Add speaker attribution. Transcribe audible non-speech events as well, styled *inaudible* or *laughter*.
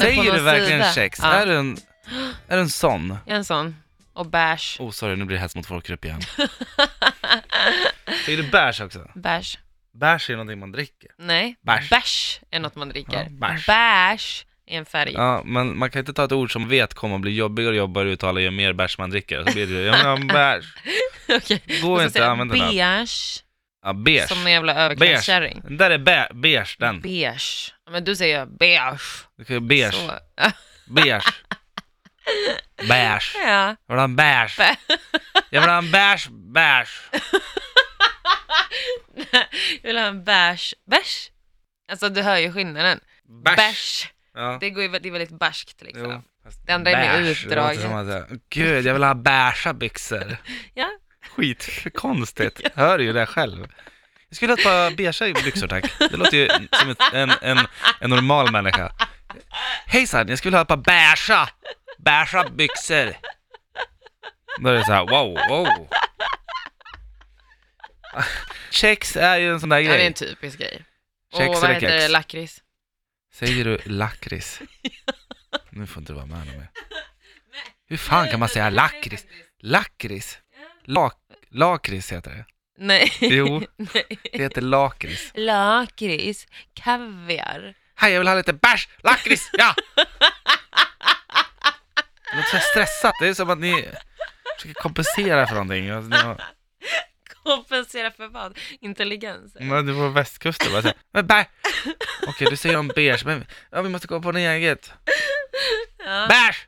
Speaker 1: på
Speaker 2: Säger
Speaker 1: någon
Speaker 2: du verkligen
Speaker 1: sida.
Speaker 2: kex?
Speaker 1: Ja.
Speaker 2: Är, du en, är du en sån?
Speaker 1: En sån. Och bärs.
Speaker 2: Oh sorry, nu blir det hets mot folkgrupp igen. Säger du bärs också?
Speaker 1: Bärs.
Speaker 2: Bärs är ju någonting man dricker.
Speaker 1: Nej.
Speaker 2: Bärs.
Speaker 1: är något man dricker.
Speaker 2: Ja, bärs.
Speaker 1: Bärs är en färg.
Speaker 2: Ja, men man kan inte ta ett ord som vet kommer att bli jobbigare och jobbigare att uttala ju mer bärs man dricker. Så blir det ju, ja men ja, bärs. *laughs*
Speaker 1: Okej.
Speaker 2: Går
Speaker 1: Jag
Speaker 2: inte
Speaker 1: ska säga
Speaker 2: att använda den.
Speaker 1: Beige.
Speaker 2: Ja, beige.
Speaker 1: Som en jävla överklasskärring.
Speaker 2: Den där är be- beige den.
Speaker 1: Beige. Ja, Men du säger beige.
Speaker 2: Du kan ju beige.
Speaker 1: Så. *laughs*
Speaker 2: Beige. Bärs.
Speaker 1: Ja.
Speaker 2: Jag vill ha en bärs.
Speaker 1: Bä-
Speaker 2: Jag vill ha en bärs, *laughs* bärs.
Speaker 1: Jag vill ha en bärs. Bärs? Alltså du hör ju skillnaden. Bärs.
Speaker 2: Ja.
Speaker 1: Det, går ju, det är väldigt bärskt liksom.
Speaker 2: Jo, fast
Speaker 1: Det andra är mer
Speaker 2: bärs, det låter
Speaker 1: utdraget.
Speaker 2: som att jag- Gud, jag vill ha bärsa byxor.
Speaker 1: Ja. *laughs*
Speaker 2: Skitkonstigt. Hör ju det själv. Jag skulle ha ett par beigea byxor tack. Det låter ju som ett, en, en, en normal människa. Hejsan, jag skulle ha ett par beigea, beigea byxor. Då är det så här, wow, wow. Kex är ju en sån där
Speaker 1: Ja, det är
Speaker 2: grej.
Speaker 1: en typisk grej.
Speaker 2: Kex
Speaker 1: och vad
Speaker 2: eller
Speaker 1: heter
Speaker 2: kex?
Speaker 1: det? Lakrits?
Speaker 2: Säger du
Speaker 1: *laughs*
Speaker 2: lakrits? Nu får inte du vara med mig. Hur fan kan man säga lakrits? Lakrits? Lak, lakrits heter det.
Speaker 1: Nej.
Speaker 2: Jo,
Speaker 1: *laughs*
Speaker 2: *laughs*
Speaker 1: Nej.
Speaker 2: det heter lakrits.
Speaker 1: Lakrits, kaviar.
Speaker 2: Hej, jag vill ha lite bärs! Lakrits! Ja! Det låter så här stressat. Det är som att ni försöker kompensera för någonting. Alltså, ni har-
Speaker 1: Kompensera för vad? Intelligens?
Speaker 2: Men du var på västkusten bara så här, Men bär! Okej, du säger om beige, men ja, vi måste gå på något eget.
Speaker 1: Ja.
Speaker 2: Bärs!